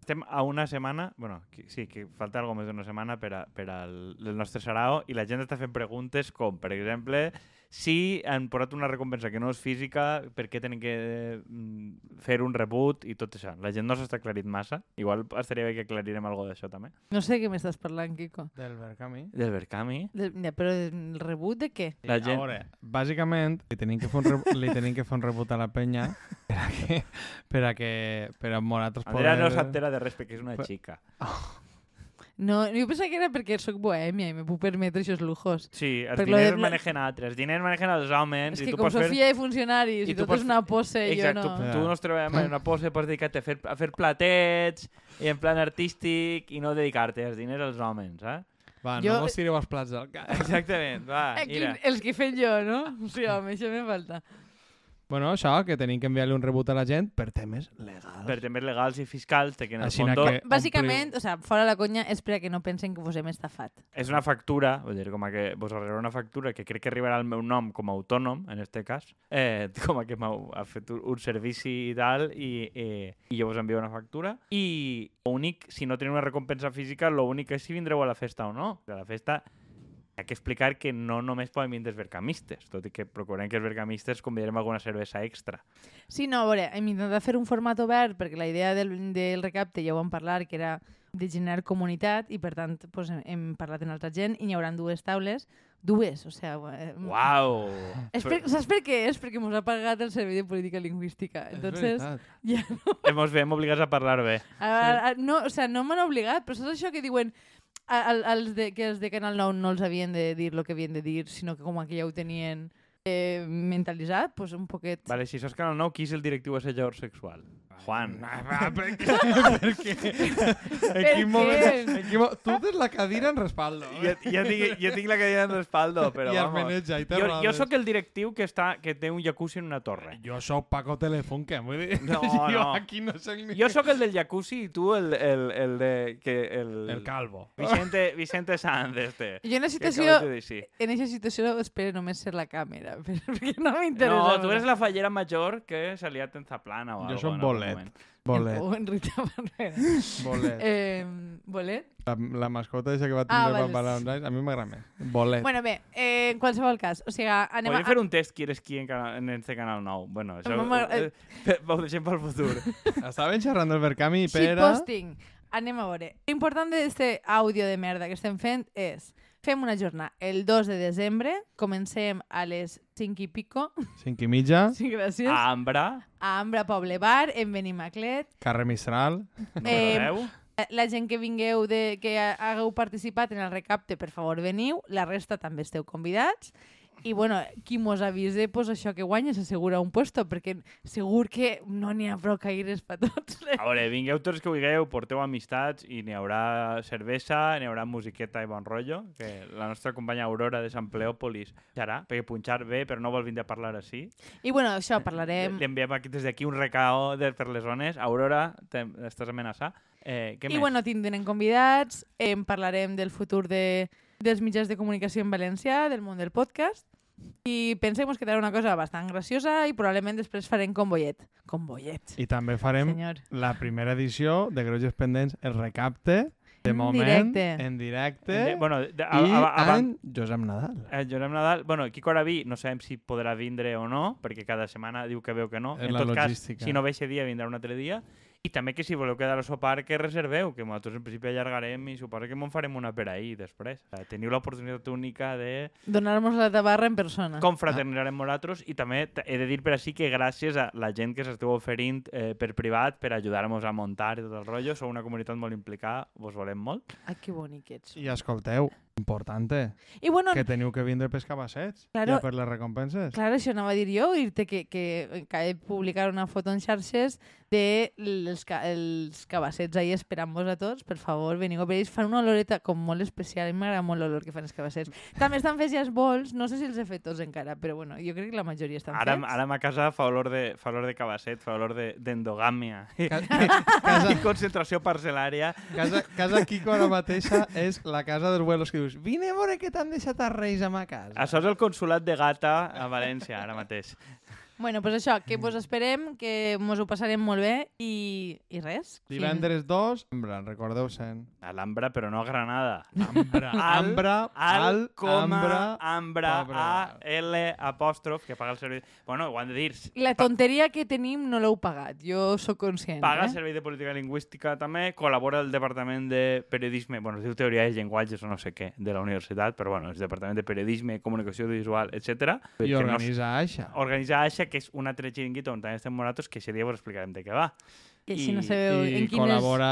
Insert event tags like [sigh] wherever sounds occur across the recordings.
estem a una setmana, bueno, que- sí, que falta algo més d'una setmana per, a, per al el nostre sarao i la gent està fent preguntes com, per exemple, si han posat una recompensa que no és física, per què tenen que mm, fer un rebut i tot això. La gent no s'està aclarit massa. Igual estaria bé que aclarirem alguna d'això també. No sé de què m'estàs parlant, Quico. Del Berkami. Del Berkami. De, de, però el rebut de què? La gent- A veure, bàsicament, li tenim que fer un, re... [laughs] li tenim que fer un rebut a la penya per a que, per a que per a nosaltres Andrea no s'entera de res perquè és una Però- xica. No, jo pensava que era perquè sóc bohèmia i me puc permetre aquests lujos. Sí, els Per lo diners de- manegen a altres. Els diners manegen als homes. És i que tu com pots fer... Sofia fer... i funcionaris i i, tu tot pots és una pose i jo Exacte, no. tu, tu no es treballem en una pose, pots dedicar-te a, fer, a fer platets i en plan artístic i no dedicar-te els diners als homes, eh? Va, Jo- no mos tireu els plats del cap. Exactament, va, Eh, mira. Eh, quin- els que he fet jo, no? [laughs] Sí, home, això me falta. Bueno, això, que tenim que enviar-li un rebut a la gent per temes legals. Per temes legals i fiscals, de que en el Així fons que- Bàsicament, o sigui, fora la conya, és per a que no pensen que vos hem estafat. és una factura, vull dir, com a que vos arribarà una factura que crec que arribarà al meu nom com a autònom, en este cas, eh, [laughs] com a que m'heu ha fet un- un servici i tal, i, eh, i jo vos envio una factura. I l'únic, si no teniu una recompensa física, l'únic és si vindreu a la festa o no. De la festa hi ha que explicar que no només poden vindre els bergamistes, tot i que procurem que els bergamistes convidarem alguna cervesa extra. Sí, no, a veure, hem intentat fer un format obert perquè la idea del, del recapte ja ho vam parlar, que era de generar comunitat i per tant pues, hem, hem parlat amb altra gent i hi haurà dues taules, dues, o sigui... eh, [laughs] Uau! És per, saps per què és? Perquè mos ha pagat el servei de política lingüística. Entonces, ja no, [laughs] Ens veiem obligats a parlar bé. a, a, no, o sea, no m'han obligat, però saps això que diuen a, a, als de, que els de Canal 9 no els havien de dir el que havien de dir, sinó que com que ja ho tenien eh, mentalitzat, pues un poquet... Vale, si sos Canal 9, qui és el directiu assetjador sexual? Juan. per què? [laughs] per què? En Per quin moment... [laughs] què? En quin mo... Tu tens la cadira en respaldo. eh? Jo, jo, tinc, jo tinc la cadira en respaldo, però I es vamos. meneja i te Jo, jo rodes. sóc el directiu que, està, que té un jacuzzi en una [laughs] torre. Jo sóc Paco Telefunken, vull dir... No, [laughs] jo no. aquí no sóc ni... Jo sóc el del jacuzzi i tu el, el, el de... Que el, El calvo. Vicente, Vicente Sanz, [laughs] este. Jo en la que situació... acabes de dir, sí. En aquesta situació espero només ser la càmera, [laughs] perquè no m'interessa. No, tu eres la fallera major que s'ha liat en Zaplana o Jo algo, sóc en algun bolet. moment. O en Rita Barrera. Bolet. Eh, bolet? La, la mascota aquesta que Ah, va tindre vale, quan va a sí. l'Online, a mi m'agrada més. Bolet. Bueno, bé, eh, en qualsevol cas, o sigui, anem Podríem a... fer un test qui eres qui en, cana- en este canal nou. Bueno, això Home, eh, eh, [laughs] eh, ho deixem pel futur. [laughs] Estaven xerrant del Berkami i Pere... Shitposting. Anem a veure. L'important d'aquest àudio de merda que estem fent és... Fem una jornada el 2 de desembre, comencem a les 5 i pico, [laughs] 5 i mitja, sí, gràcies, A Ambra, a Ambra Poble Bar, en Benimaclet. carrer Mistral. Eh, número 10. Eh, La gent que vingueu, de, que ha- hagueu participat en el recapte, per favor, veniu. La resta també esteu convidats. I, bueno, qui mos avise, pues, això que guanya s'assegura un puesto, perquè segur que no n'hi ha prou caires per tots. A veure, vingueu tots que vulgueu, porteu amistats i n'hi haurà cervesa, n'hi haurà musiqueta i bon rotllo, que la nostra companya Aurora de Sant Pleòpolis serà, perquè punxar bé, però no vol vindre a parlar així. I, bueno, això, Li parlarem... enviem aquí, des d'aquí un recao de, per les zones. Aurora, te, estàs amenaçant. Eh, què I, més? bueno, tindrem convidats, en parlarem del futur de, dels mitjans de comunicació en valencià, del món del podcast, i pensem que quedarà una cosa bastant graciosa i probablement després farem convoyet. Convoyet, I també farem senyor. la primera edició de Greuges Pendents, el recapte, de En moment, directe. en directe, Eh, bueno, de, a, i a, a, abans, en Josep Nadal. eh, Josep Nadal, bueno, Quico Araví no sabem si podrà vindre o no, perquè cada setmana diu que veu que no. És en la tot logística. cas, si no ve aquest dia, vindrà un altre dia. I també que si voleu quedar a sopar, que reserveu, que nosaltres en principi allargarem i suposo que m'en farem una per ahir després. O sigui, Teniu l'oportunitat única de Donar-nos la tabarra en persona. confraternitzar amb nosaltres i també t- he de dir per així que gràcies a la gent que s'esteu oferint eh, per privat per ajudar-nos a muntar i tot el rotllo. Sou una comunitat molt implicada, vos volem molt. Ah, que bonic ets. I escolteu, importante, I bueno, que teniu que vindre pels cabassets, Claro. ja per les recompenses. clar, això anava a dir jo, dir-te que, que acabé de publicar una foto en xarxes de els, ca els cabassets ahir esperant-vos a tots, per favor, veniu a veure, fan una oloreta com molt especial, a mi m'agrada molt l'olor que fan els cabassets. També estan fets ja els bols, no sé si els he fet tots encara, però bueno, jo crec que la majoria estan Ara, fets. ara a ma casa fa olor de, fa olor de cabasset, fa olor de- d'endogàmia. De, Casa, i concentració parcel·lària. casa, casa Quico ara mateixa és la casa dels vuelos que dius vine a veure què t'han deixat els reis a ma casa. Això és el consulat de gata a València, ara mateix. Bueno, pues això, que vos esperem, que mos ho passarem molt bé i, i res. Fins- Divendres 2, Ambra, recordeu-se'n. Alhambra, però no a Granada. [laughs] Ambra, Al- Ambra, Al, al, coma, Ambra, ambra, Ambra. A, L, apòstrof, que paga el servei... Bueno, ho han de dir. La tonteria que tenim no l'heu pagat, jo sóc conscient. Paga el eh? Servei de Política Lingüística també, col·labora el Departament de Periodisme, bueno, es diu Teoria de Llenguatges o no sé què, de la universitat, però bueno, és Departament de Periodisme, Comunicació Visual, etc. i organitza Aixa. Organitzar Aixa, que és un altre xiringuito on també estem moratos, que ese dia vos explicarem de què va. Que així no i- sabeu en I quines... col·labora...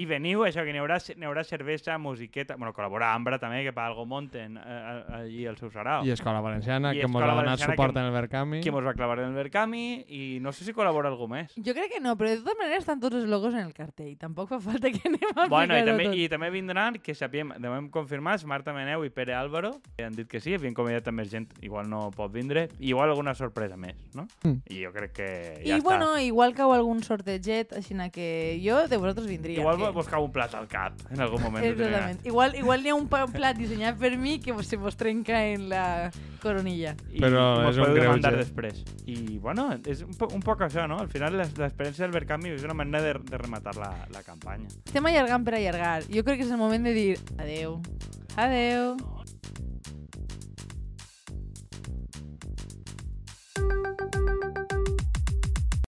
I veniu, això, que n'hi haurà, n'hi haurà cervesa, musiqueta... Bueno, col·labora Ambra també, que per algo monten eh, eh, allí el seu sarau. I Escola Valenciana, I que mos Escola ha donat Valenciana, suport que- en el Verkami. que mos va clavar en el Berkami i no sé si col·labora algú més. Jo crec que no, però de totes maneres estan tots els logos en el cartell. Tampoc fa falta que [laughs] anem a Bueno, i ficar-ho també, tot. i també vindran, que sapiem, de moment confirmats, Marta Meneu i Pere Álvaro, que han dit que sí, havien convidat també gent, igual no pot vindre, i igual alguna sorpresa més, no? Mm. I jo crec que I, ja està. bueno, igual cau algun sorteget, així na que jo de vosaltres vindria. igual que... vos cau un plat al cap en algun [laughs] moment. Exactament. Igual, igual n'hi ha un pa- plat dissenyat per mi que se vos trenca en la coronilla. I Però mos és un podeu demandar greuge. després. I bueno, és un, po un poc això, no? Al final les- l'experiència del Berkami és una manera de, de rematar la, la campanya. Estem allargant per allargar. Jo crec que és el moment de dir adeu. Adeu. No,